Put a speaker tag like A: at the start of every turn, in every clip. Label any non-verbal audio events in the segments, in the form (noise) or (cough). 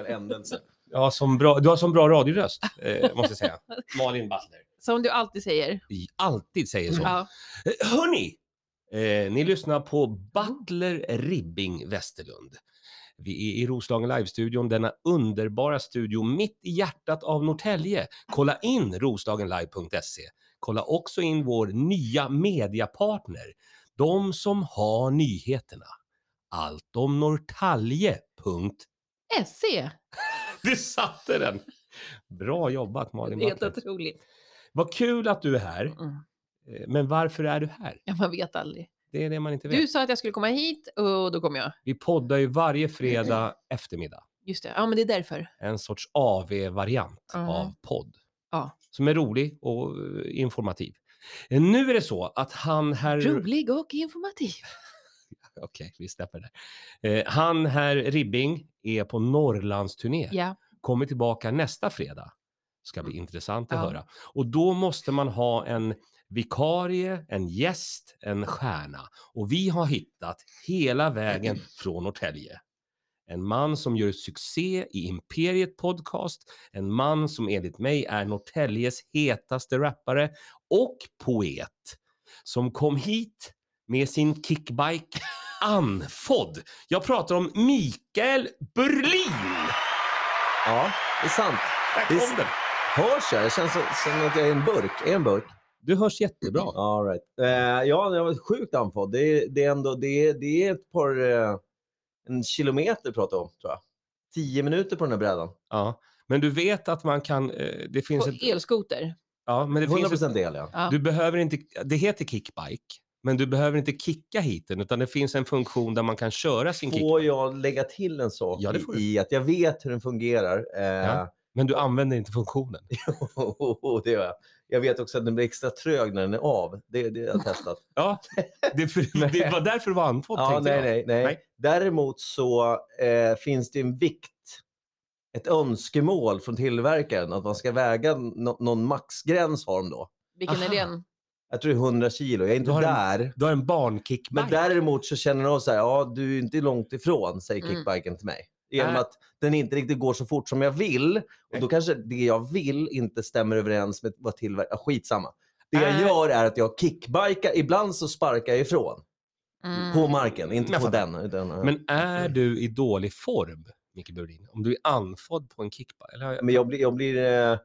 A: fel ändelse.
B: Ja, som bra, du har som bra radioröst, eh, måste jag säga. (laughs) Malin Butler.
C: Som du alltid säger.
B: I- Alltid säger så.
C: Ja.
B: Eh, Hörni! Eh, ni lyssnar på Butler Ribbing Westerlund. Vi är i Roslagen Live-studion, denna underbara studio mitt i hjärtat av Norrtälje. Kolla in roslagenlive.se. Kolla också in vår nya mediapartner, de som har nyheterna. Allt om Norrtälje. punkt.
C: SE.
B: (laughs) Det satte den! Bra jobbat Malin
C: Helt
B: Butler.
C: otroligt.
B: Vad kul att du är här.
C: Mm.
B: Eh, Men varför är du här?
C: Ja, man vet aldrig.
B: Det är det man inte vet.
C: Du sa att jag skulle komma hit och då kom jag.
B: Vi poddar ju varje fredag eftermiddag.
C: Just det. Ja, men det är därför.
B: En sorts AV-variant
C: Ja.
B: av podd.
C: Ja.
B: Som är rolig och eh, informativ. Eh, Nu är det så att han här...
C: Rolig och informativ.
B: Okej, vi släpper det. där. Eh, han här Ribbing är på Norrlandsturné.
C: Ja.
B: Kommer tillbaka nästa fredag. Ska bli intressant att
C: Ja.
B: höra. Och då måste man ha en vikarie, en gäst, en stjärna. Och vi har hittat hela vägen från Norrtälje. En man som gör succé i Imperiet Podcast, en man som enligt mig är Norrtäljes hetaste rappare och poet som kom hit med sin kickbike anfodd. Jag pratar om Mikael Berlin!
A: Ja, det är sant.
B: Där
A: Visst.
B: kom den!
A: Hörs jag? Jag känns som, som att jag är en burk. Är jag en burk?
B: Du hörs jättebra.
A: All right. eh, ja, jag var sjukt andfådd. Det, är- det, är ändå- det, är- det är ett par... Eh, en kilometer pratar jag om, tror jag. Tio minuter på den här brädan.
B: Ja. Men du vet att man kan, eh, det finns
C: På
B: ett...
C: elskoter.
B: Ja, men det
A: 100
B: finns ett,
A: procent el, ja.
C: Ja.
B: du behöver inte, det heter kickbike, men du behöver inte kicka hit den, utan det finns en funktion där man kan köra sin kick,
A: Får jag lägga till en sak
B: Ja, det
A: i-
B: får du.
A: i att jag vet hur den fungerar? Eh,
B: Ja. men du använder inte funktionen.
A: (laughs) det gör jag. Jag vet också att den blir extra trög när den är av. Det, det har jag testat.
B: Ja, det, för, det var därför det var andfådd,
A: ja,
B: tänkte
A: nej,
B: jag.
A: nej, nej,
B: Nej.
A: Däremot så eh, finns det en vikt, ett önskemål från tillverkaren att man ska väga nå- någon maxgräns har de då.
C: Vilken är
B: Aha.
C: den?
A: Jag tror det är 100 kilo. Jag är inte
B: Då har de-
A: där.
B: Du har en barnkickbike.
A: Men däremot så känner de så här, ja du är inte långt ifrån, säger
C: Mm.
A: kickbiken till mig. Genom
B: Nej.
A: att den inte riktigt går så fort som jag vill. Och då
B: Nej.
A: kanske det jag vill inte stämmer överens med vad tillverkaren... Ja, skitsamma. Det jag
B: Nej.
A: gör är att jag kickbikar. Ibland så sparkar jag ifrån. Mm.
C: Mm.
A: På marken, inte
B: Mm. Jag
A: på
B: fattar.
A: den. Utan, eh, ja.
B: Men är du i dålig form, Micke Berlin? Om du är andfådd på en kickbike? Eller, har jag-
A: Men jag blir, jag blir eh,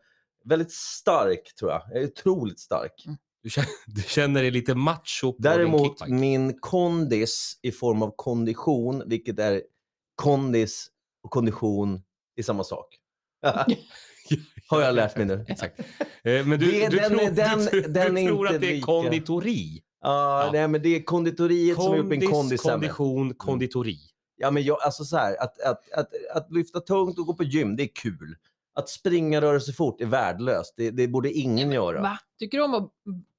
A: väldigt stark tror jag. Jag är otroligt stark.
B: du, känner, du känner dig lite macho på din
A: Däremot
B: kickbike?
A: min kondis i form av kondition, vilket är kondis och kondition är samma sak. (laughs) Har jag lärt mig nu.
B: Exakt. Eh, Men du,
A: Det är
B: du
A: den-
B: tror,
A: den-
B: du, tror-
A: den
B: du
A: är
B: tror
A: inte
B: att det är
A: lika.
B: konditori?
A: Ja,
B: Ja.
A: Nej, men det är konditoriet som har gjort min kondis Mm. sämre.
B: kondition, konditori.
A: Ja, men jag, alltså så här, att, att, att, att lyfta tungt och gå på gym, det är kul. Att springa rörelse fort är värdelöst. Det, det borde ingen göra.
C: Va? Tycker du om att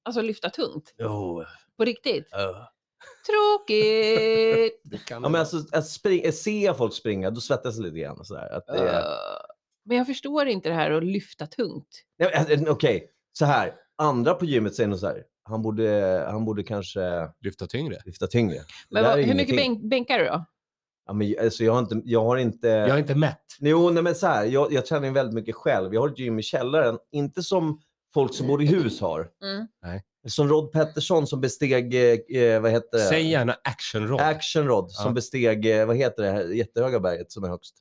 C: alltså, lyfta tungt?
A: Jo,
C: På riktigt?
A: ja. (laughs)
C: Tråkigt!
A: Ja, men alltså, att spring, se folk springa, då svettas jag lite grann. och Så här, att det är,
C: Eh, Men jag förstår inte det här att lyfta tungt.
A: Nej, men, alltså, Okej, så här. Andra på gymmet säger nog så här. Han borde, han borde kanske
B: Lyfta tyngre.
A: lyfta tyngre. Det
C: Men
A: där
C: vad,
A: är
C: hur mycket
A: ingenting.
C: bänk, bänkar du då?
A: Ja, men, alltså, jag har inte... Jag har inte...
B: Jag är inte mätt.
A: Jo, nej, men så här. Jag, jag tränar ju väldigt mycket själv. Jag har ett gym i källaren. Inte som folk som bor i hus har.
C: Mm.
A: Som Rod Pettersson som besteg... Eh, vad heter det?
B: Säg gärna actionroll.
A: Action Rod
B: Ja.
A: som besteg... Eh, vad heter det här jättehöga berget som är högst?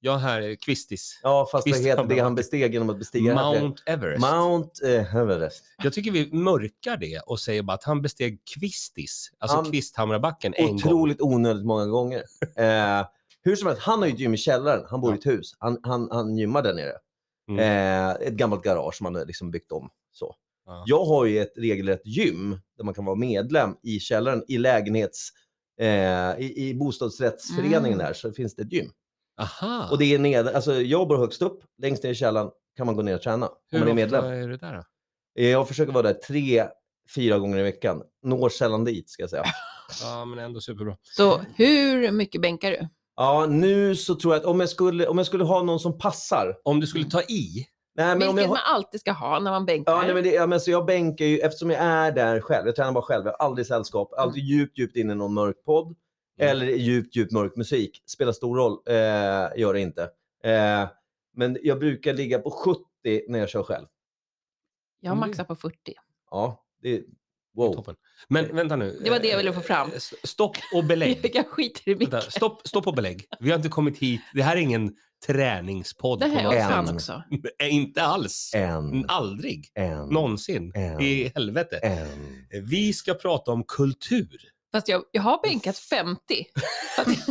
B: jag här är Kvistis.
A: Ja, fast vad
B: Visst,
A: heter
B: han
A: det
B: var-
A: han besteg genom att bestiga? det här berget?
B: Mount Everest.
A: Mount eh, Everest.
B: Jag tycker vi mörkar det och säger bara att han besteg Kvistis, alltså
A: Han-
B: Kvisthamrabacken, en gång.
A: otroligt onödigt många gånger.
B: (laughs)
A: Eh, hur som helst, han har ju ett gym i källaren. Han bor i ett hus. Han, han, han gymmar där nere.
B: Mm.
A: Eh, ett gammalt garage som han har liksom byggt om. Så.
B: Ja.
A: Jag har ju ett regelrätt gym där man kan vara medlem i källaren i lägenhets... Eh, i, I bostadsrättsföreningen
C: Mm.
A: där så finns det ett gym.
B: Aha.
A: Och det är ned, alltså jag bor högst upp, längst ner i källaren kan man gå ner och träna om man
B: Hur
A: är medlem.
B: ofta är du där då?
A: Eh, Jag försöker vara där tre, fyra gånger i veckan. Når sällan dit ska jag säga.
B: Ja, men ändå superbra.
C: Så hur mycket bänkar du?
A: Ja, nu så tror jag att om jag skulle, om jag skulle ha någon som passar.
B: Om du skulle ta i,
A: Nej, men om
C: Vilket
A: jag,
C: man
A: har-
C: alltid ska ha när man bänkar.
A: ja, nej, men det, ja, men så jag bänkar ju, eftersom jag är där själv, jag tränar bara själv, jag har aldrig sällskap, alltid djupt, djupt in i någon mörk podd
B: Mm.
A: eller i djupt, djupt mörk musik. Spelar stor roll, eh, gör det inte. Eh, men jag brukar ligga på 70 när jag kör själv.
C: Jag
B: Mm.
C: maxar på 40.
A: Ja, det wow.
B: Toppen. Men vänta nu.
C: Det var det jag
B: Eh,
C: ville få fram.
B: s- Stopp och
C: (laughs)
B: belägg.
C: Jag skiter i
B: Vänta,
C: mycket.
B: stopp, stopp och belägg. Vi har inte kommit hit. Det här är ingen träningspodd.
C: Det
B: på
C: här
B: något
C: är
A: en.
B: sätt.
C: fan också.
B: Nej, eh, Inte alls. Mm.
A: En,
B: Aldrig.
A: en,
B: Någonsin.
A: en,
B: I helvete.
A: en.
B: Vi ska prata om kultur.
C: Fast jag, jag har bänkat 50.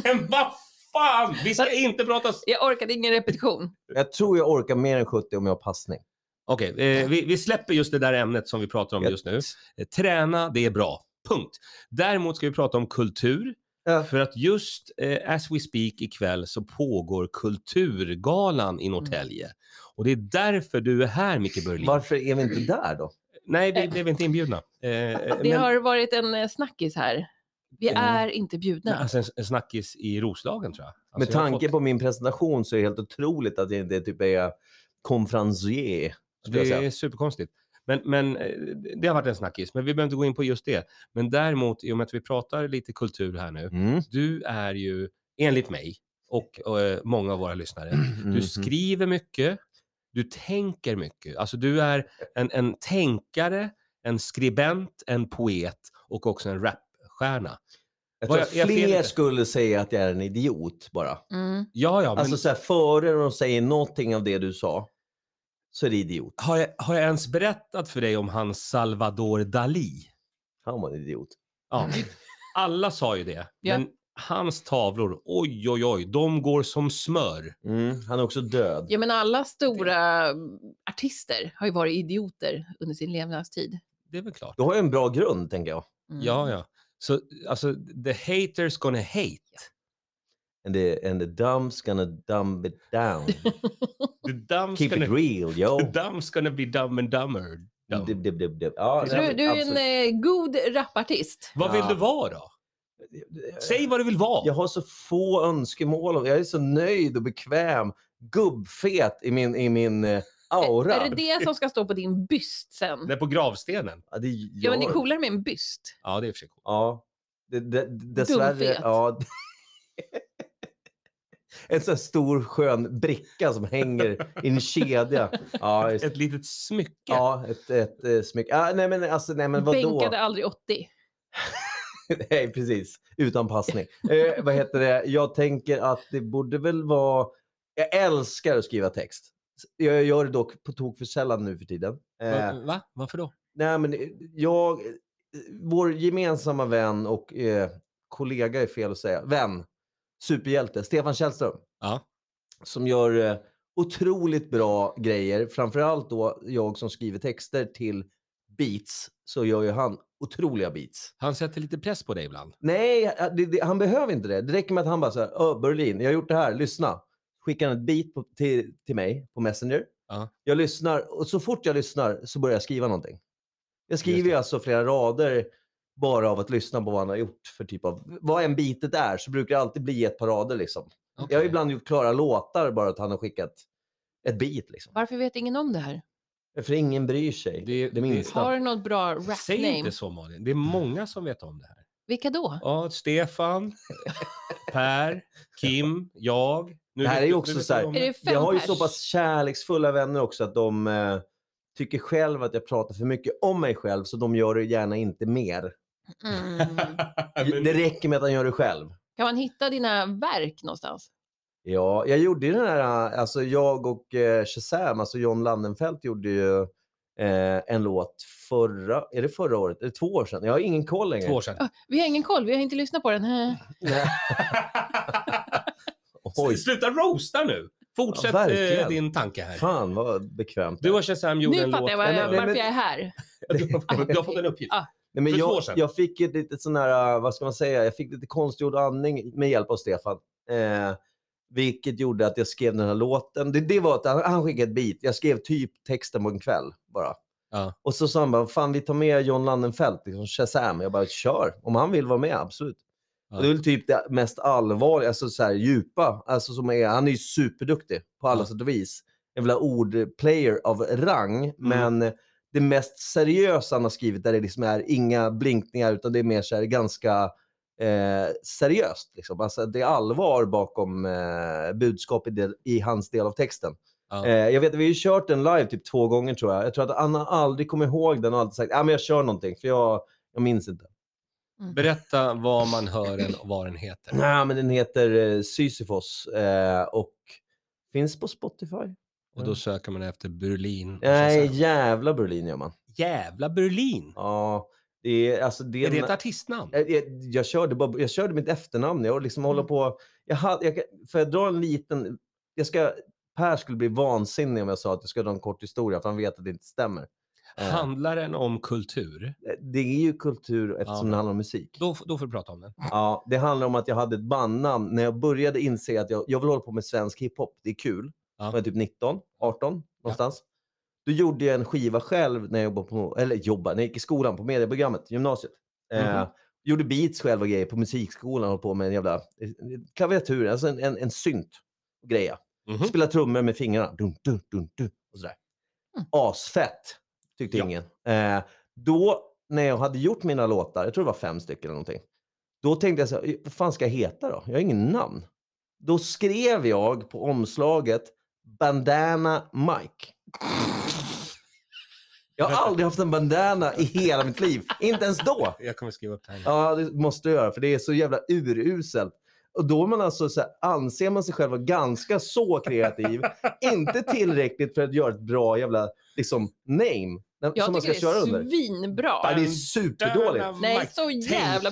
B: Men vad fan! Vi ska inte prata... s-
C: Jag orkade ingen repetition.
A: Jag tror jag orkar mer än 70 om jag har passning.
B: Okej, eh, vi, vi släpper just det där ämnet som vi pratar om just nu. Eh, Träna, det är bra. Punkt. Däremot ska vi prata om kultur.
A: Ja.
B: För att just eh, as we speak ikväll så pågår Kulturgalan
A: Mm.
B: i Norrtälje. Och det är därför du är här, Micke Berlin.
A: Varför är vi inte där då?
B: Nej, vi blev inte inbjudna. Eh,
C: Det
B: men-
C: har varit en eh, snackis här. Vi
B: Mm.
C: är inte bjudna.
B: Alltså en, en snackis i Roslagen tror jag. Alltså,
A: Med
B: jag har
A: tanke
B: fått-
A: på min presentation så är det helt otroligt att jag inte typ är konferencier. skulle jag
B: Det
A: säga.
B: är superkonstigt. Men, men eh, det har varit en snackis, men vi behöver inte gå in på just det. Men däremot, i och med att vi pratar lite kultur här nu.
A: (clears throat) Mm.
B: Du är ju, enligt mig och eh, många av våra lyssnare,
A: Mhm.
B: du skriver mycket, du tänker mycket. Alltså du är en, en tänkare, en skribent, en poet och också en rapstjärna.
A: Jag tror
B: Vad
A: att
B: jag- jag fel
A: fler
B: ute?
A: skulle säga att jag är en idiot bara.
C: Mm.
B: Ja, ja, men
A: Alltså så här, före de säger någonting av det du sa så är det idiot.
B: har, jag, har jag ens berättat för dig om han Salvador Dalí?
A: Han var en idiot.
B: Ja. Alla sa ju det.
C: Mm. Ja.
B: Men hans tavlor, oj oj oj, de går som smör.
A: Mm. Han är också död.
C: Ja, men alla stora mm, artister har ju varit idioter under sin levnadstid.
B: Det är väl klart.
A: Du har ju en bra grund tänker jag.
C: Mm.
B: Ja, ja. Så alltså, the haters gonna hate.
A: And the, and the dumb's gonna dumb it
B: (laughs)
A: down.
B: The dumb's
A: Keep
B: gonna,
A: it real yo.
B: (laughs) the dumb's gonna be dumb and dumber. Dumb.
A: Dub, dub, dub, dub. Ja,
B: Tror
C: Du,
A: nej,
C: du är en
A: absolut.
C: eh, god rapartist.
B: Vad vill
A: Ja.
B: du vara då? Säg vad du vill vara.
A: Jag har så få önskemål. och Jag är så nöjd och bekväm. Gubbfet i min, i min eh, aura.
C: Är det det som ska stå på din byst sen?
B: Det är på gravstenen.
A: Ja, det
C: Ja, men det är
A: gör-
C: coolare med en byst.
B: Ja, det är i och för sig coolt.
A: Ja. Det, det, dessvärre.
C: Dumfet.
A: Ja. (laughs) En sån här stor skön bricka som hänger i en kedja. Ja,
C: (laughs)
A: just,
B: Ett litet smycke.
A: ja ett, ett, ett smycke. Ah, nej, men, alltså, nej, men vadå?
C: Bänkade aldrig 80.
A: (laughs) Nej, precis. Utan passning. Eh, vad heter det? Jag tänker att det borde väl vara... Jag älskar att skriva text. Jag gör det dock på tok för sällan nu för tiden. Eh,
B: Va, va? Varför då?
A: nej, men eh, jag... eh, Vår gemensamma vän och eh, kollega är fel att säga. Vän. Superhjälte. Stefan Källström.
B: Ja.
A: Som gör eh, otroligt bra grejer. Framförallt då jag som skriver texter till beats. Så gör ju han otroliga beats.
B: Han sätter lite press på dig ibland.
A: Nej, det, det, han behöver inte det. Det räcker med att han bara så här, "Ö, Berlin, jag har gjort det här, lyssna. Skickar han ett beat på, till, till mig på Messenger.
B: Ja.
A: Jag lyssnar och så fort jag lyssnar så börjar jag skriva någonting. Jag skriver
B: Just
A: ju
B: det.
A: alltså flera rader bara av att lyssna på vad han har gjort för typ av, vad än bitet är så brukar det alltid bli ett par rader liksom. Jag har
B: Okej.
A: ibland gjort klara låtar bara att han har skickat ett beat liksom.
C: Varför vet ingen om det här?
A: För ingen bryr sig
B: Det-
A: det,
B: det-
A: minsta.
C: Har du något bra
B: Säg
C: rap-name?
B: inte så Malin. Det är många som vet om det här. (laughs)
C: Vilka då?
B: Ja, Stefan,
A: (laughs)
B: Per, Kim, jag. Nu
A: Det här
B: vet
A: är ju
B: du- nu
A: också
B: vet
A: så
B: du
A: här,
B: om
C: Är
B: det.
C: det fem
A: Jag har ju
C: pers?
A: så pass kärleksfulla vänner också att de eh, tycker själv att jag pratar för mycket om mig själv så de gör det gärna inte mer.
C: Mm.
B: (laughs) Men-
A: Det räcker med att han gör det själv.
C: Kan man hitta dina verk någonstans?
A: Ja, jag gjorde ju den här, eh, alltså jag och eh, Shazam, alltså John Landenfelt gjorde ju eh, en låt förra, är det förra året? Är det två år sedan? Jag har ingen koll längre.
B: Två år sedan.
A: (laughs)
C: Ah, Vi har ingen koll, vi har inte lyssnat på den.
A: Mm.
C: här.
A: Nej. Oj,
B: Sluta roasta nu! Fortsätt
A: Ja,
B: eh,
A: verkligen.
B: din tanke här.
A: fan vad bekvämt.
B: Du och Shazam gjorde en
C: Nu
B: låt.
C: fattar jag var,
A: Nej, men- nej,
C: varför
A: men-
C: jag är här.
B: Du, har- du har fått en uppgift.
C: (laughs) Ah.
A: Nej, men
B: För två år
A: jag,
B: sedan.
A: jag fick ett litet sån här, eh, vad ska man säga, jag fick lite konstgjord andning med hjälp av Stefan. Eh, vilket gjorde att jag skrev den här låten. Det, det var att han, han skickade ett beat. Jag skrev typ texten på en kväll bara.
B: Ja.
A: Och så sa han bara, fan vi tar med John Landenfelt, liksom Shazam. Jag bara, kör. Om han vill vara med, absolut.
B: Ja.
A: Och det är väl typ det mest allvarliga, alltså så här djupa. Alltså som är, han är ju superduktig på alla
B: Ja.
A: sätt och vis. En jävla ordplayer av rang.
B: Mm.
A: Men det mest seriösa han har skrivit där det liksom är inga blinkningar utan det är mer så här ganska eh, seriöst. Liksom. Alltså, det är allvar bakom eh, budskap i, del, i hans del av texten.
B: Ja.
A: Eh, jag vet, vi har ju kört den live typ två gånger tror jag. Jag tror att Anna aldrig kommer ihåg den och alltid sagt att men jag kör någonting för jag, jag minns inte.
C: Mm.
B: Berätta vad man hör den och vad den heter.
A: Nej, men den heter eh, Sisyfos eh, och finns på Spotify.
B: Och då söker man efter Berlin. och så
A: Nej,
B: sen-
A: jävla Berlin gör man.
B: Jävla Berlin!
A: Ja, det är alltså det...
B: Är det ett artistnamn?
A: jag, jag, jag, körde bara, jag körde mitt efternamn. Jag liksom håller
C: Mm.
A: på... Jag hade, jag, kan- för jag drar en liten... Jag ska, per skulle bli vansinnig om jag sa att jag ska dra en kort historia, för han vet att det inte stämmer. Eh,
B: Handlar den om kultur?
A: Det är ju kultur eftersom
B: Ja.
A: det handlar om musik.
B: Då, f- då får du prata om den.
A: Ja, det handlar om att jag hade ett bandnamn när jag började inse att jag, jag vill hålla på med svensk hiphop. Det är kul.
B: Ja.
A: Jag var typ 19, 18 någonstans. Då gjorde jag en skiva själv när jag jobbade på, eller jobbade, när jag gick i skolan på medieprogrammet, gymnasiet. Eh,
B: Mhm.
A: gjorde beats själv och grejer på musikskolan och höll på med en jävla eh, klaviatur, alltså en, en, en synt greja.
B: Mhm.
A: Spela trummor med fingrarna. Dun, dun, dun, dun, och sådär.
C: Mm.
A: Asfett, tyckte
B: Ja.
A: ingen. Eh, då, när jag hade gjort mina låtar, jag tror det var fem stycken eller någonting, då tänkte jag så här, vad fan ska jag heta då? Jag har ingen namn. Då skrev jag på omslaget Bandana Mike. Jag har aldrig haft en bandana i hela mitt liv. Inte ens då.
B: Jag kommer skriva upp det här.
A: Ja, det måste du göra, för det är så jävla uruselt. Och då är man alltså så här, anser man sig själv vara ganska så
C: (laughs)
A: kreativ, inte tillräckligt för att göra ett bra jävla liksom, name när-
C: Jag
A: som man ska
C: tycker
A: köra
C: det är
A: under. Ja,
C: svinbra.
A: det är superdåligt.
C: Nej, så jävla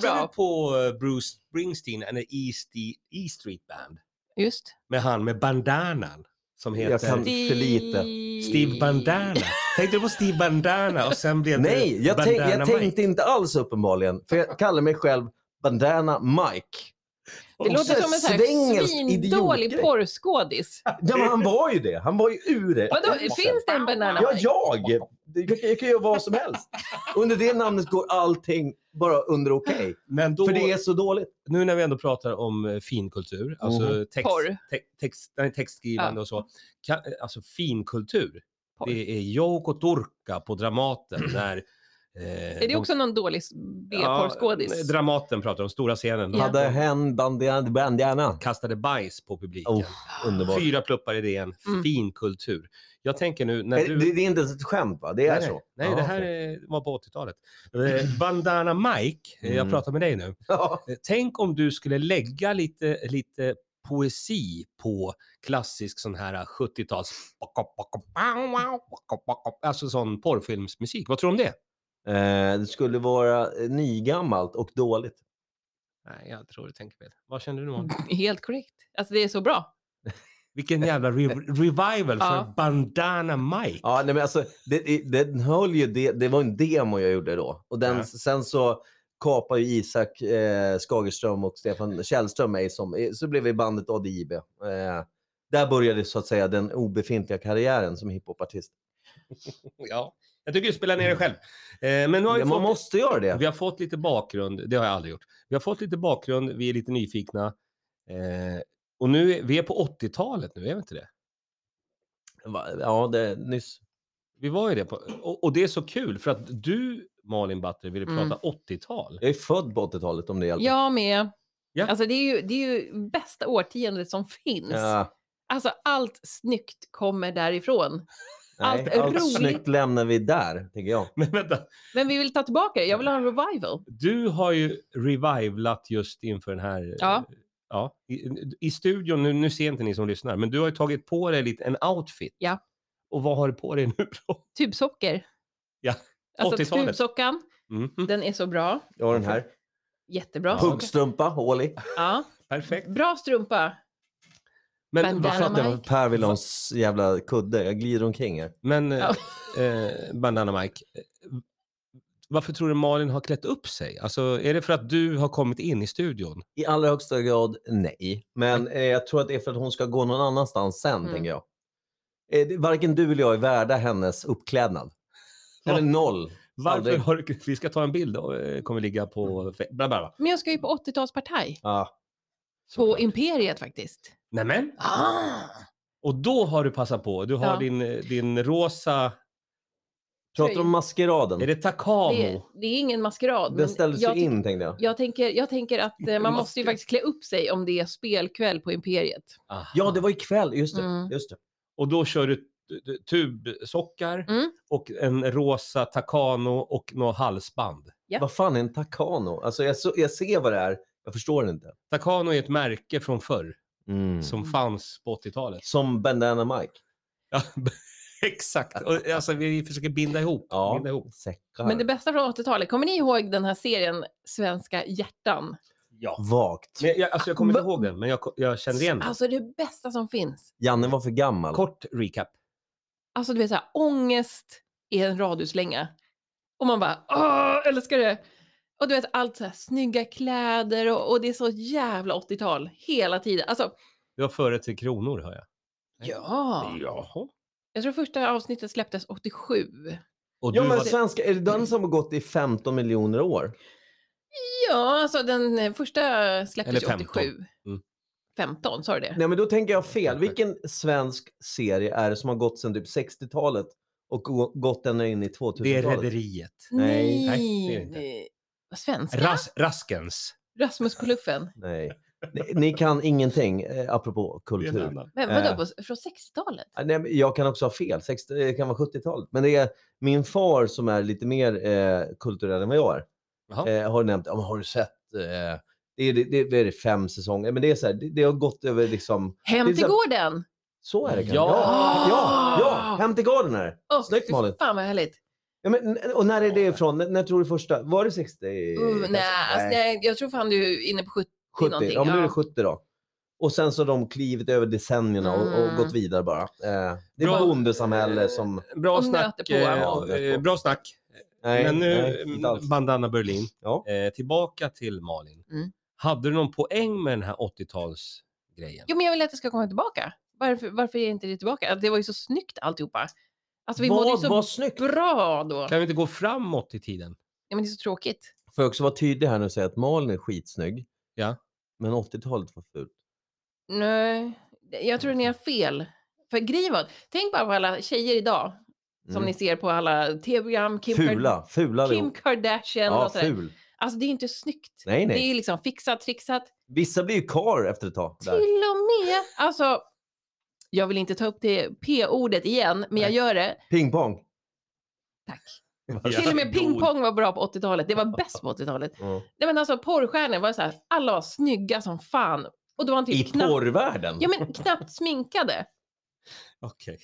B: Tänkte
C: bra.
B: du på eh, Bruce Springsteen and the E, St- e Street Band?
C: Just.
B: Med han med bandanan som heter
A: Jag kan- För lite.
B: Steve Bandana. Tänkte du på Steve Bandana och sen blev det
A: Nej, jag, tänk,
B: Bandana
A: jag
B: Mike?
A: tänkte inte alls uppenbarligen, för jag kallar mig själv Bandana Mike.
C: Det låter som en sån här
A: svengelsk
C: svindålig
A: idiotgrej.
C: porrskådis.
A: Ja, men han var ju det. Han var ju ur det.
C: Vadå, finns det en Banana
A: Ja,
C: Mike?
A: jag! Det- Jag, jag kan göra vad som helst. Under det namnet går allting bara under okej.
B: Men då,
A: För det är så dåligt.
B: nu när vi ändå pratar om eh, finkultur, alltså
A: Mhm.
B: text,
C: Porr.
B: te- text, nej, textskrivande och så. Kan, eh, alltså finkultur.
C: Porr.
B: Det är Jouko Turkka
A: (clears throat)
B: på Dramaten när... eh,
C: Är det
B: de-
C: också någon dålig
B: nej,
C: B-porrskådis?
B: Dramaten pratar om, stora scenen. De
C: Ja.
A: Hade hen bandian- bandana.
B: kastade bajs på publiken.
A: Oh, underbart.
B: Fyra pluppar i DN,
C: Mm.
B: finkultur. Jag jag tänker nu när
A: Nej,
B: du...
A: Eh, Det, det är inte ens ett skämt va? Det är
B: nej,
A: så?
B: Nej,
A: Ja,
B: det här
A: okej.
B: eh, var på 80-talet. Eh, Bandana Mike, eh, jag
A: Mm.
B: pratar med dig nu.
A: Ja.
B: Eh, Tänk om du skulle lägga lite, lite poesi på klassisk sån här eh, 70-tals... Alltså sån porrfilmsmusik. Vad tror du om det?
A: Eh, det skulle vara eh, nygammalt och dåligt.
B: Nej, jag tror du tänker fel. Vad känner du
C: (laughs)
B: nu?
C: (clears throat) Helt korrekt. Alltså det är så bra.
B: Vilken jävla re- revival för
C: Ja.
B: Bandana Mike.
A: Ja, nej, men alltså, det, det, den höll ju det, det var en demo jag gjorde då. Och den,
B: Ja.
A: sen så kapar ju Isak eh, Skagerström och Stefan Källström mig. Som, eh, så blev vi bandet ADIB. Eh, där började så att säga den obefintliga karriären som hiphopartist.
B: Ja. Jag tycker du spelar ner det själv. Eh, men nu har vi
A: Ja, man
B: fått...
A: måste göra det.
B: Vi har fått lite bakgrund, det har jag aldrig gjort. Vi har fått lite bakgrund, vi är lite nyfikna. Eh, och nu, är- vi är på 80-talet nu, är vi inte det?
A: Va- Ja, det, nyss.
B: Vi var ju det. På, och, och det är så kul för att du, Malin Batre, ville
C: Mm.
B: prata 80-tal.
A: Jag är född på 80-talet om det hjälper.
C: Jag med.
B: Ja.
C: Alltså det är, ju, det är ju bästa årtiondet som finns.
A: Ja,
C: Alltså allt snyggt kommer därifrån.
A: nej,
C: Allt
A: allt
C: roligt.
A: snyggt lämnar vi där, tänker jag.
B: (laughs) Men vänta,
C: Men vi vill ta tillbaka det. Jag vill ha en revival.
B: du har ju revivalat just inför den här...
C: Ja.
B: ja i, I studion, nu, nu ser inte ni som lyssnar, men du har ju tagit på dig lite, en outfit.
C: Ja.
B: Och vad har du på dig nu (laughs) då?
C: Tubsocker.
B: Ja,
C: Alltså
B: 80-talet.
C: tubsockan,
B: Mhm,
C: den är så bra.
A: Jag har den här.
C: Jättebra.
B: Ja.
A: Huggstrumpa, hål i.
C: Ja.
B: Perfekt.
C: Bra strumpa.
B: Men,
C: Bandana
A: Jag fattar
C: Mike.
A: varför Per vill ha en s- jävla kudde. Jag glider omkring här.
B: Men
C: Ja.
B: eh, Bandana Mike, eh, varför tror du Malin har klätt upp sig? Alltså, är det för att du har kommit in i studion?
A: I allra högsta grad nej. Men eh, jag tror att det är för att hon ska gå någon annanstans sen,
C: Mm.
A: tänker jag. Eh, det- varken du eller jag är värda hennes uppklädnad. Eller noll.
B: Varför
A: Aldrig.
B: har du, vi ska ta en bild och eh, kommer ligga
C: Mm.
B: på... fe- Bla bla bla.
C: Men jag ska ju på 80-talspartaj.
A: Ja.
C: På
B: Såklart.
C: Imperiet faktiskt.
B: Nämen!
C: Ah.
B: Och då har du passat på. Du har
C: Ja.
B: din, eh, din rosa
A: Pratar du om maskeraden?
B: Är det Takamo?
C: Det, det är ingen maskerad.
A: Den ställdes
C: jag
A: ju
C: tyck-
A: in tänkte jag.
C: Jag tänker, jag tänker att
A: (laughs)
C: eh, man måste ju faktiskt klä upp sig om det är spelkväll på Imperiet.
B: Aha.
A: Ja, det var ikväll. Just det.
C: Mm.
A: Just det.
B: Och då kör du t- t- tubsockar
C: Mm.
B: och en rosa Takano och något halsband.
C: Ja.
A: Vad fan är en takano? Alltså jag, så, jag ser vad det är, jag förstår det inte.
B: Takano är ett märke från förr
C: Mm.
A: Som,
B: som fanns på 80-talet.
A: som Bandana Mike.
B: Ja, (laughs) Exakt. Och, alltså, vi försöker binda ihop.
A: Ja.
B: Binda ihop.
A: Säckar.
C: Men det bästa från 80-talet, kommer ni ihåg den här serien Svenska hjärtan?
B: Ja.
A: Vagt.
B: Men jag, alltså, jag kommer inte
C: Va-
B: ihåg den, men jag, ko- jag känner igen den.
C: Alltså det bästa som finns.
A: Janne var för gammal.
B: Kort recap.
C: Alltså du vet så här, ångest är en radhuslänga. Och man bara, åh, älskar det. Och du vet allt så här, snygga kläder och, och det är så jävla 80-tal hela tiden. Alltså,
B: Det var före Tre Kronor, hör jag.
C: ja.
B: Jaha.
C: Jag tror första avsnittet släpptes 87.
B: Och du
A: Ja men
B: var...
A: svenska, är det den som har gått i 15 miljoner år?
C: Ja, alltså den eh, första
B: Eller
C: släpptes ju
B: 15.
C: 87.
B: Mm.
C: 15, sa du det?
A: Nej men då tänker jag fel.
B: Kanske.
A: Vilken svensk serie är det som har gått sedan typ 60-talet och gå- gått ända in i
B: Det är
A: 2000-talet?
B: Rederiet.
A: Nej,
B: nej, det är det inte.
C: nej. Vad Svenska?
B: Ras, Raskens.
C: Rasmus på luffen.
A: Nej. Ni, ni kan ingenting eh, apropå kultur.
C: Men vadå,
A: Eh.
C: på, från 60-talet?
A: Ah, Nej, men jag kan också ha fel. 60, det kan vara 70-talet. Men det är min far som är lite mer eh, kulturell än vad jag är.
B: Jaha.
A: Eh, har nämnt, ja, men har du sett? Eh, det, är, det, det, det är fem säsonger. Men det är så här, det, det har gått över liksom.
C: Hem
A: Det är
C: till
A: så-
C: gården!
A: Så är det kanske.
B: Ja.
A: ja, ja, ja. hem till garden här.
C: Åh,
A: Snyggt,
C: fy
A: Malin.
C: Fan vad härligt.
A: Ja, men, n- och när är det ifrån? När, när tror du första? Var det 60?
C: Uh, nej, alltså, nej, jag tror fan du är inne på 70.
A: 70?
C: någonting,
A: Ja, men nu är det
C: ja.
A: 70 då. Och sen så har de klivit över decennierna och, och
C: Mm.
A: gått vidare bara. Eh, det
B: Bra.
A: är bondesamhälle som...
B: Bra
C: Och
B: snack.
C: nöter på.
B: eh,
A: Ja, nöter
B: eh,
A: på.
B: Bra snack.
A: Nej,
B: Men nu, eh,
A: nej, inte alls.
B: Bandana Berlin,
A: Ja.
B: eh, tillbaka till Malin.
C: Mm.
B: Hade du någon poäng med den här 80-talsgrejen?
C: Jo, men jag vill att det ska komma tillbaka. Varför, varför är inte det tillbaka? Det var ju så snyggt alltihopa. Alltså vi mådde ju
A: Vad
C: så
A: var snyggt?
C: bra då.
B: Kan vi inte gå framåt i tiden?
C: Ja, men det är så tråkigt.
A: Får jag också vara tydlig här nu och säga att Malin är skitsnygg.
B: Ja.
A: Men 80-talet var fult.
C: Nej, jag tror ni har fel. För grejen var, tänk bara på alla tjejer idag som
A: Mm.
C: ni ser på alla tv-program. Kim, Kar-
A: Fula, fula
C: Kim
A: allihop.
C: Kardashian
A: Ja,
C: och sådär.
A: ful.
C: Alltså det är inte snyggt.
A: Nej,
C: Det
A: nej.
C: är liksom fixat, trixat.
A: Vissa blir ju kar efter ett tag. Där.
C: Till och med, alltså. Jag vill inte ta upp det p-ordet igen, men jag
B: Nej.
C: gör det.
A: Pingpong.
C: Tack.
A: (laughs)
B: Ja,
C: Till och med
B: god.
C: pingpong var bra på 80-talet. Det var bäst på 80-talet.
A: Ja.
C: Nej men alltså porrstjärnor var så här, alla var snygga som fan. Och då var han
A: I
C: typ knappt,
A: porrvärlden?
C: ja, men knappt sminkade.
B: Okej.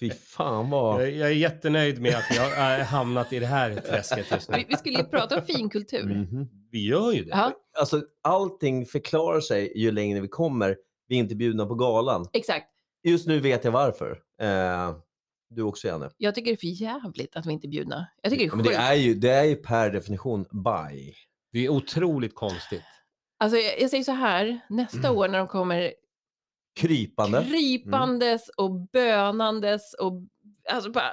A: Fy fan vad...
B: Jag, jag är jättenöjd med att jag har äh, hamnat i det här träsket just
C: Vi,
B: nu.
C: vi skulle ju prata om finkultur.
A: Mhm.
B: Vi gör ju det.
C: Ja,
A: Alltså, allting förklarar sig ju längre vi kommer. Vi är inte bjudna på galan.
C: exakt.
A: Just nu vet jag varför. Eh, du också Janne.
C: Jag tycker det är för jävligt att vi inte är bjudna. Jag tycker det är
A: Men det
C: sjukt.
A: är, ju, det är ju per definition by.
B: Det är otroligt konstigt.
C: Alltså, jag, jag säger så här, nästa år när de kommer
A: Krypande.
C: krypandes och bönandes och alltså bara,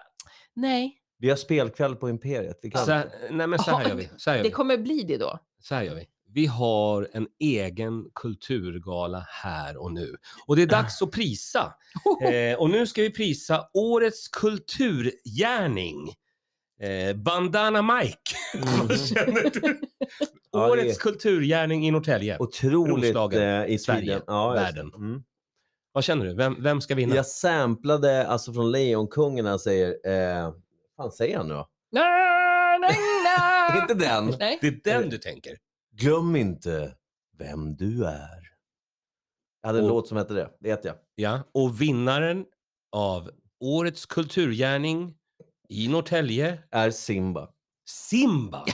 C: nej,
A: Vi har spelkväll på Imperiet. Vi kan...
C: Alltså,
A: (laughs)
B: Så här, nej men så här
C: Ja,
B: gör vi. Så här gör
C: det
B: vi.
C: kommer bli det då.
B: Så här gör vi. Vi har en egen kulturgala här och nu. Och det är dags att
C: (laughs)
B: prisa. Eh, och nu ska vi prisa årets kulturgärning. Eh, Bandana
A: (laughs)
B: Mike. Vad känner du?
A: Mm. Ja, det är-
B: årets kulturgärning i Norrtälje.
A: Otroligt
B: Roslagen,
A: eh, i
B: Sverige,
A: Sverige, ja, just-
B: världen.
A: Mm.
B: Vad känner du? Vem, vem ska vinna?
A: Jag samplade alltså från Lejonkungen när han säger, eh, vad fan säger han nu då?
C: Nej, nej, (laughs) nej.
A: Inte den.
C: Nej.
B: Det är den du tänker.
A: Glöm inte vem du är. Jag hade en
B: Och-
A: låt som hette det, vet jag.
B: Ja. Och vinnaren av årets kulturgärning i Norrtälje,
A: Är Simba.
B: Simba.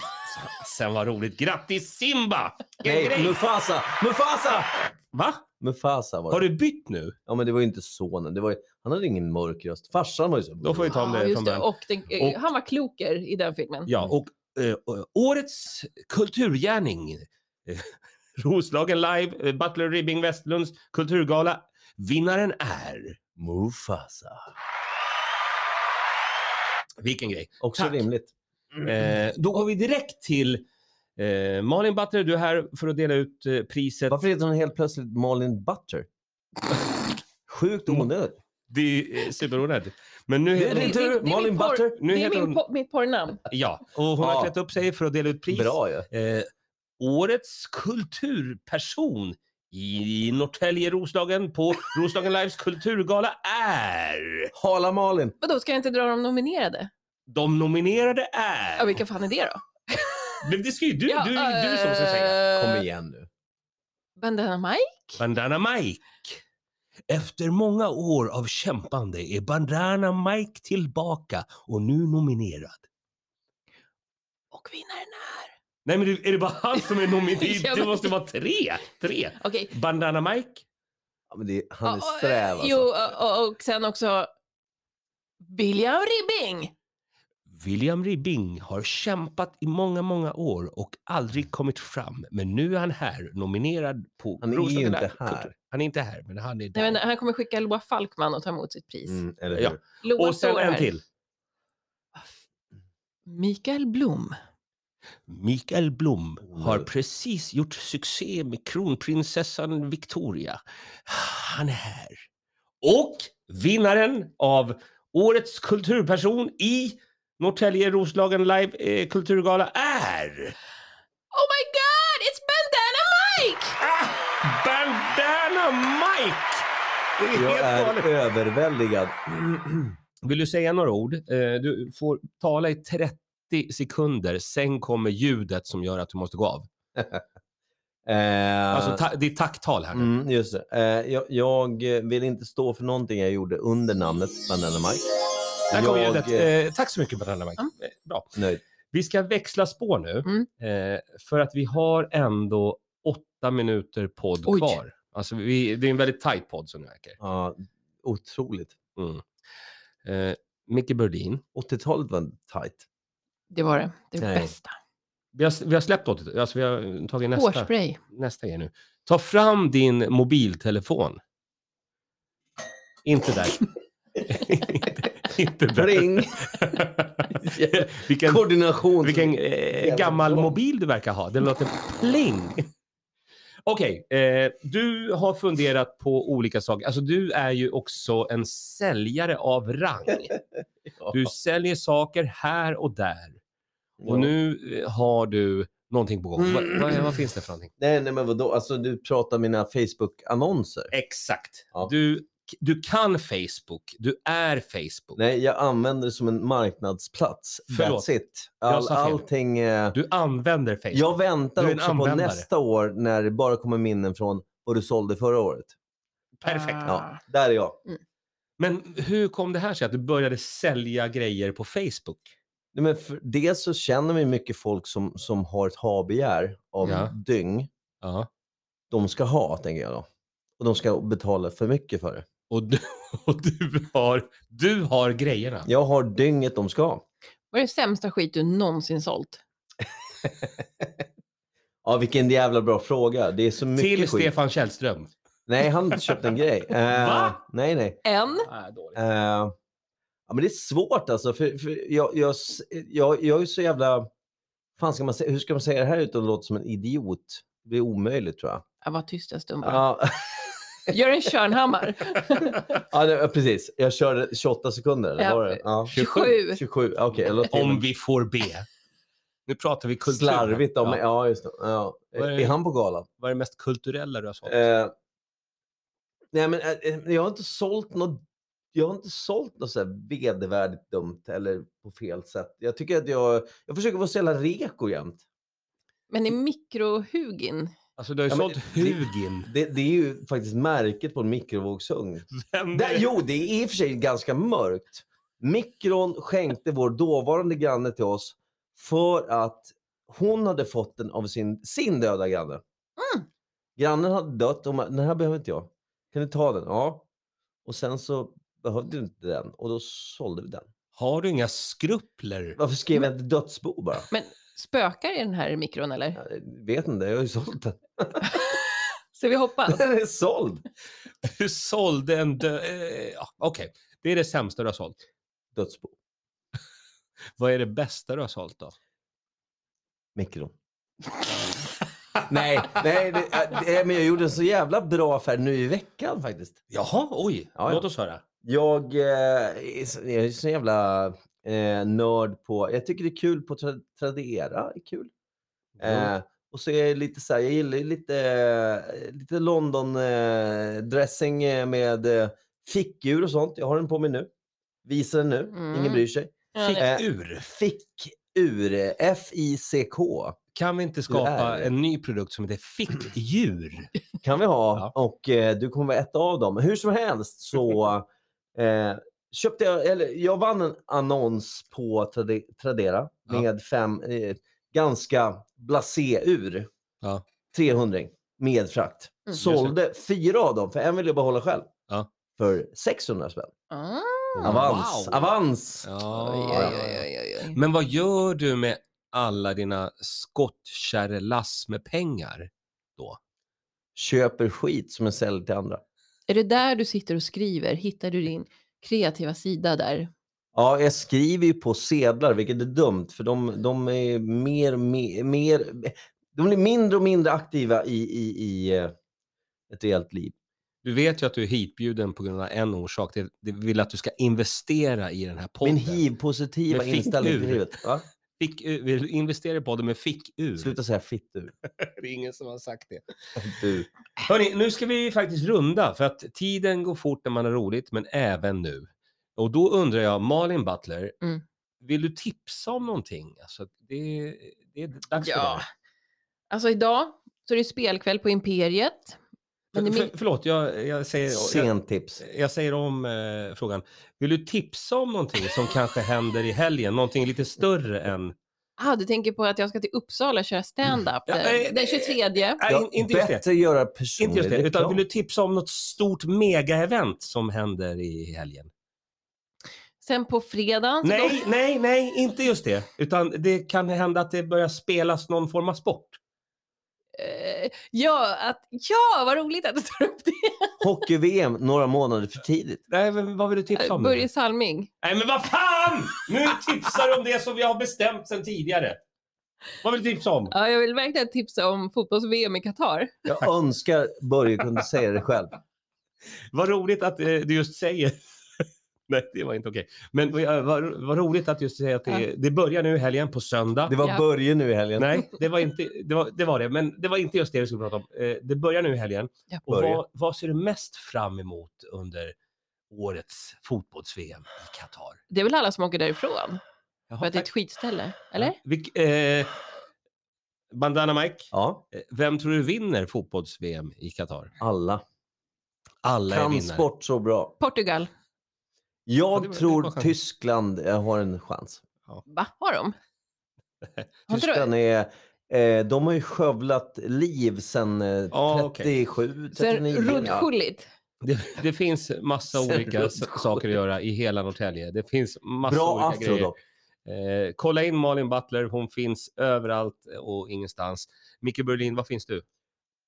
B: Sen var roligt. Grattis Simba! Vilken
A: Nej,
B: grej!
A: Mufasa! Mufasa!
B: Va?
A: Mufasa var det.
B: Har du bytt nu?
A: Ja, men det var ju inte sonen. Det var ju... Han hade ingen mörk röst. Farsan var ju så...
B: Då får vi ta om
C: Ja,
B: det från
C: just det.
B: början.
C: Och, den, eh,
B: Och-
C: han var kloker i den filmen.
B: Ja, och eh, och årets kulturgärning. eh, (laughs) Roslagen Live, eh, Butler Ribbing Westlunds kulturgala. Vinnaren är...
A: Mufasa.
B: Vilken grej.
A: Också
B: Tack.
A: rimligt.
B: Eh, då går vi direkt till eh, Malin Butler. Du är här för att dela ut eh, priset.
A: Varför heter hon helt plötsligt Malin Butter? Sjukt onödigt.
B: Det är superonödigt. eh, Men nu
A: Det är
B: heter
A: din
B: hon,
C: det- det-
A: tur,
C: det är
A: Malin
C: min porr-
A: Butter.
B: nu
C: det är
B: heter
C: min,
B: hon,
C: po- mitt porrnamn.
B: ja, och hon
A: Ja.
B: har klätt upp sig för att dela ut pris.
A: Bra ju.
B: Eh, årets kulturperson i Norrtälje,
A: (laughs)
B: Roslagen på Roslagen Lives kulturgala är...
A: Hala Malin.
C: Vadå, ska jag inte dra de nominerade?
B: De nominerade
C: Ja,
B: är...
C: vilka fan är det då?
B: Men det ska ju du,
C: Ja,
B: du, du som ska säga.
C: eh,
A: Kom igen nu.
C: Bandana Mike?
B: Bandana Mike. Efter många år av kämpande är Bandana Mike tillbaka och nu nominerad.
C: Och vinnaren är...
B: Nej men är det bara han som är
C: (laughs) Ja,
B: nominerad? Det
C: men-
B: måste vara tre! Tre!
C: Okej.
B: Bandana Mike.
A: Ja, men det, han är
C: Ja, och, eh,
A: sträv
C: Jo,
A: alltså.
C: och, och- och sen också William Ribbing.
B: William Ribbing har kämpat i många, många år och aldrig kommit fram. Men nu är han här, nominerad på
A: Han är ju
B: Roslagen
A: inte
B: Live
A: här.
B: Kultur. Han är inte här, men han är där.
C: Nej, men han kommer skicka Loa Falkman och ta emot sitt pris.
A: Mm, eller
B: Ja.
A: hur?
C: Loa
B: och sen
C: står
B: en
C: här.
B: till.
C: Mikael Blom.
B: Mikael Blom
A: Oh.
B: har precis gjort succé med kronprinsessan Victoria. Han är här. Och vinnaren av årets kulturperson i Norrtälje Roslagen Live eh, kulturgala är
C: Oh my god, it's Bandana Mike!
B: ah, Bandana Mike! Det är
A: Jag
B: helt galet.
A: är överväldigad. (clears throat)
B: Vill du säga några ord? Eh, Du får tala i 30 sekunder, sen kommer ljudet som gör att du måste gå av.
A: Eh,
B: Alltså ta- det är tacktal här nu.
A: Mm, just det. Eh, jag, jag vill inte stå för någonting jag gjorde under namnet Bandana Mike.
B: Där kommer
A: Jag,
B: ljudet.
A: eh,
B: Eh, tack så mycket Brandon Mike.
C: Mm.
B: Eh, Bra.
A: Nöjd.
B: Vi ska växla spår nu
C: Mm.
B: eh, för att vi har ändå åtta minuter podd
C: Oj.
B: kvar. Alltså vi, det är en väldigt tight podd som det verkar.
A: Ja, otroligt.
B: Mm. Eh, Micke Burdin.
A: 80-talet var tight.
C: Det var det, det
A: Nej.
C: bästa.
B: Vi har, vi har släppt åt det. Alltså vi har tagit nästa,
C: Hårspray.
B: nästa grej nu. Ta fram din mobiltelefon. Inte
A: (laughs)
B: där. inte, inte där.
A: Ring!
B: (laughs) Vilken
A: Koordination.
B: Vilken eh, gammal
A: blå.
B: mobil du verkar ha. Den låter pling. Okej, eh, du har funderat på olika saker. Alltså du är ju också en säljare
A: (laughs)
B: av rang.
A: Ja.
B: Du säljer saker här och där.
A: Ja.
B: Och nu eh, har du någonting på gång.
A: Mm.
B: Vad, vad, vad finns det för någonting?
A: Nej, nej, men vadå? Alltså, du pratar mina Facebook-annonser.
B: Exakt.
A: Ja.
B: Du, du kan Facebook. Du är Facebook.
A: Nej, jag använder det som en marknadsplats.
B: Förlåt.
A: That's it.
B: Jag
A: All,
B: sa fel.
A: allting... Eh,
B: Du använder Facebook.
A: jag
B: Du
A: väntar
B: är en
A: också på
B: användare.
A: nästa år när det bara kommer minnen från vad du sålde förra året.
B: Perfekt.
C: Ah.
A: Ja, där är jag.
B: Men hur kom det här sig att du började sälja grejer på Facebook?
A: Nej, men för, dels så känner vi mycket folk som, som har ett ha-begär av
B: Ja.
A: dyng.
B: Ja.
A: De ska ha, tänker jag då. Och de ska betala för mycket för det.
B: Och du, (laughs) och du, har, du har grejerna.
A: Jag har dynget de ska ha.
C: Vad är det sämsta skit du någonsin sålt?
A: Ja, vilken jävla bra fråga. Det är så mycket
B: Till
A: skit.
B: Stefan Källström.
A: Nej, han köpte en
B: (laughs)
A: grej. Eh,
B: Va?
A: Nej, nej.
C: En?
B: Ah, dåligt.
A: Eh, ja, men det är svårt alltså. För, för jag, jag, s- jag, jag är så jävla... Fan ska man säga, hur ska man säga det här utan att låta som en idiot? Det är omöjligt tror jag.
C: Jag var tyst en stund bara.
A: Ja,
C: Gör
B: (laughs)
C: en Körnhammar.
A: ja, (laughs) det- precis. Jag körde 28 sekunder. eller
C: Ja.
A: var det? Ja.
C: 27.
A: 27, okej. jag la till
B: Om
A: en.
B: vi får be. Nu pratar vi kultur. här.
A: Slarvigt om
B: Ja.
A: ja. ja, just det. Ja.
B: Vad är
A: Är
B: det?
A: han på galan?
B: Vad är det mest kulturella du har sålt?
A: Eh, nej, men eh, jag har inte sålt något jag har inte sålt något så här vedervärdigt dumt eller på fel sätt. Jag tycker att jag, jag försöker vara så jävla reko jämt.
C: Men i mikrohugin.
B: Alltså du har ju
A: ja, men-
B: sålt Hugin.
A: Det, det är ju faktiskt märket på en mikrovågsugn.
B: Vem
A: Där,
B: är-
A: jo, det är i och för sig ganska mörkt. Mikron skänkte vår dåvarande granne till oss för att hon hade fått den av sin, sin döda granne. Grannen hade dött och hon bara, den här behöver inte jag. Kan du ta den? Ja. Och sen så behövde du inte den och då sålde vi den.
B: Har du inga skrupler?
A: Varför skrev jag inte dödsbo bara?
C: Spökar i den här mikron eller?
A: Jag vet inte, jag har ju sålt den.
C: Så vi
A: (laughs)
C: hoppas.
A: Den är såld!
B: Du sålde en dö... eh, ja, Okej, det är det sämsta du har sålt.
A: Dödsbo.
B: Vad är det bästa du har sålt då?
A: Mikron. nej, nej, det, äh, det, men jag gjorde en så jävla bra affär nu i veckan faktiskt.
B: Jaha, oj.
A: Ja, ja.
B: Låt oss höra.
A: Jag eh, är så- jag är så jävla eh, nörd på... Jag tycker det är kul på tra- Tradera. är kul. Eh, och så är jag lite så här, jag gillar ju lite, eh, lite London eh, dressing eh, med eh, fickdjur och sånt. Jag har den på mig nu. Visar den nu. Ingen
C: Mm.
A: bryr sig.
C: Ja,
B: Fick
C: det-
A: Eh.
B: ur.
A: Fickur. eh, F-I-C-K.
B: Kan vi inte skapa
A: är-
B: en ny produkt som heter (clears throat) fickdjur?
A: kan vi ha.
B: Ja.
A: Och eh, du kommer vara ett av dem. Hur som helst
B: (laughs)
A: så eh, köpte jag, eller jag vann en annons på Trade, Tradera
B: Ja.
A: med fem eh, ganska blasé-ur.
B: Ja.
A: 300 med frakt.
C: Mm.
A: Sålde fyra av dem, för en ville jag behålla själv.
B: Ja. Oh.
A: För 600 spänn.
C: Ah.
A: Avans,
B: Wow.
A: avans!
B: Ja,
C: Oj,
B: ja,
C: oj,
B: ja.
C: oj, oj, oj.
B: Men vad gör du med alla dina skottkärrelass med pengar?
A: Köper skit som jag säljer till andra.
C: Är det där du sitter och skriver? Hittar du din kreativa sida där?
A: Ja, jag skriver ju på sedlar, vilket är dumt, för de, de är mer, mer, mer... De blir mindre och mindre aktiva i, i, i eh, ett reellt liv.
B: Du vet ju att du är hitbjuden på grund av en orsak. Det, det vill att du ska investera i den här podden.
A: Min hiv-positiva
B: Men fick
A: inställning till
B: ur.
A: livet.
B: (laughs)
A: Va?
B: Fick, eh, vill du investera i podden med fickur?
A: Sluta säga fittur.
B: Det är ingen som har sagt det. eh,
A: Du.
B: Hörni, nu ska vi faktiskt runda för att tiden går fort när man har roligt, men även nu. Och då undrar jag, Malin Butler,
C: Mm.
B: vill du tipsa om någonting? Alltså, det, det är dags för
C: Ja.
B: dig.
C: Alltså idag så är det spelkväll på Imperiet. Men det
B: För,
C: är
B: för, förlåt, jag, jag, säger, jag,
A: Sent tips.
B: jag säger om eh, frågan. Vill du tipsa om någonting som kanske händer i helgen? Någonting lite större än...
C: Ah, du tänker på att jag ska till Uppsala och köra stand-up
B: Ja,
C: eh,
B: eh,
C: den 23.
B: Nej,
A: Ja,
B: in- inte just det.
A: bättre göra
B: Inte
A: personlig
B: just det, utan
A: reklam.
B: vill du tipsa om något stort mega-event som händer i helgen?
C: Sen på fredag. så
B: Nej, nej, nej, inte just det. Utan det kan hända att det börjar spelas någon form av sport.
C: Eh, ja, att, ja, vad roligt att du tar upp det.
A: Hockey-VM några månader för tidigt.
B: Nej, men vad vill du tipsa om?
C: Börje Salming.
B: Nej, men vad fan! Nu tipsar du om det som vi har bestämt sedan tidigare. Vad vill du tipsa om?
C: Ja, jag vill verkligen tipsa om fotbolls-VM i Qatar.
A: Jag önskar Börje kunde säga det själv.
B: Vad roligt att eh, du just säger... (laughs) Nej, det var inte okej. Men vad, vad, vad roligt att just säga att det, det börjar nu i helgen på söndag.
A: Det var
C: Ja.
A: Börje nu i helgen.
B: Nej, det var, inte, det, var, det var det. Men det var inte just det vi skulle prata om. Eh, det börjar nu i helgen.
C: Ja.
B: Och
A: Börja.
B: vad, vad ser du mest fram emot under årets fotbolls-VM i Qatar?
C: Det är väl alla som åker därifrån? För att det är ett skitställe, eller?
B: Vilk, eh, Bandana Mike,
A: Ja,
B: eh, vem tror du vinner fotbolls-VM i Qatar?
A: alla.
B: Alla är
A: Kan
B: vinnare.
A: sport så bra.
C: Portugal.
A: Jag
B: det var- det
A: tror
B: var skönt.
A: Tyskland eh, har en chans.
C: Va,
A: (laughs)
C: har de? Har inte de-
A: Tyskland är... Eh, de har ju skövlat liv sen eh,
B: Ja, okej.
A: 37,
C: Sen
A: 39. ja.
C: Rudkullit.
B: Det, det finns massa
A: Sen
B: olika s-
A: runt-
B: saker att göra i hela Norrtälje. Det finns massa
A: Bra
B: olika
A: afro
B: grejer.
A: dock.
B: Eh, kolla in Malin Butler, hon finns överallt och ingenstans. Micke Berlin, var finns du?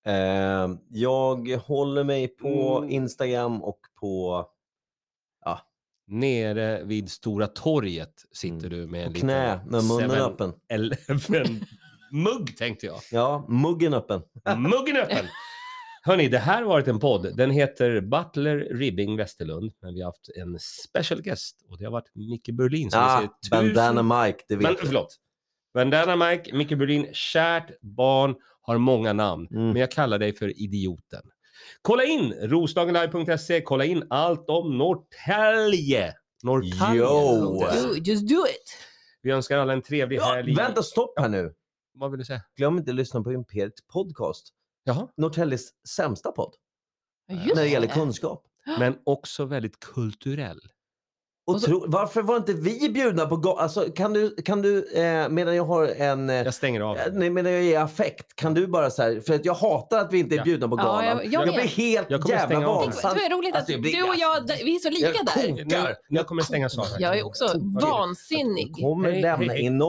A: Eh, jag håller mig på
B: Mm.
A: Instagram och på
B: Nere vid Stora torget sitter
A: Mm.
B: du med en liten
A: knä med munnen
B: seven-
A: öppen.
B: eleven
A: (laughs)
B: mugg tänkte jag.
A: Ja, muggen öppen.
B: Muggen öppen! Hörni, det här har varit en podd. Den heter Butler Ribbing Westerlund. Men vi har haft en special guest och det har varit Micke Berlin. Så
A: Ah,
B: vi säger tusen...
A: bandana Mike, det
B: Men,
A: vet jag.
B: förlåt. Bandana Mike, Micke Berlin, kärt barn, har många namn.
A: Mm.
B: Men jag kallar dig för idioten. Kolla in roslagenlive.se, kolla in allt om Norrtälje. Norrtälje.
A: Yo.
B: punkter se.
C: Do, just do it!
B: Vi önskar alla en trevlig
A: Ja,
B: helg.
A: vänta, stopp här nu.
B: Vad vill du säga?
A: Glöm inte att lyssna på Imperiet Podcast.
B: Jaha.
A: Norrtäljes sämsta podd
C: Ja,
B: När
C: Just
A: när det gäller kunskap.
B: Men också väldigt kulturell.
A: Och
C: Och så-
A: tro, varför var inte vi bjudna på go- alltså, Kan du, kan du eh, medan jag har en... Eh,
B: Jag stänger av.
A: eh, nej, medan jag är i affekt, kan du bara så här, för att jag hatar att vi inte
B: Ja.
A: är bjudna på
C: Ja,
A: galan.
C: jag- jag med.
A: blir helt
B: Jag kommer
A: jävla
B: stänga av
C: Tänk,
B: den.
A: vansinnig.
C: det är roligt att
A: Alltså, jag blir-
C: du och jag, vi är så lika
A: jag
C: där.
A: kokar.
B: Nu, nu kommer jag stänga av.
C: Jag är också
A: kokar.
C: vansinnig.
A: Jag kommer
B: Hej,
A: lämna
B: hej, hej.
A: in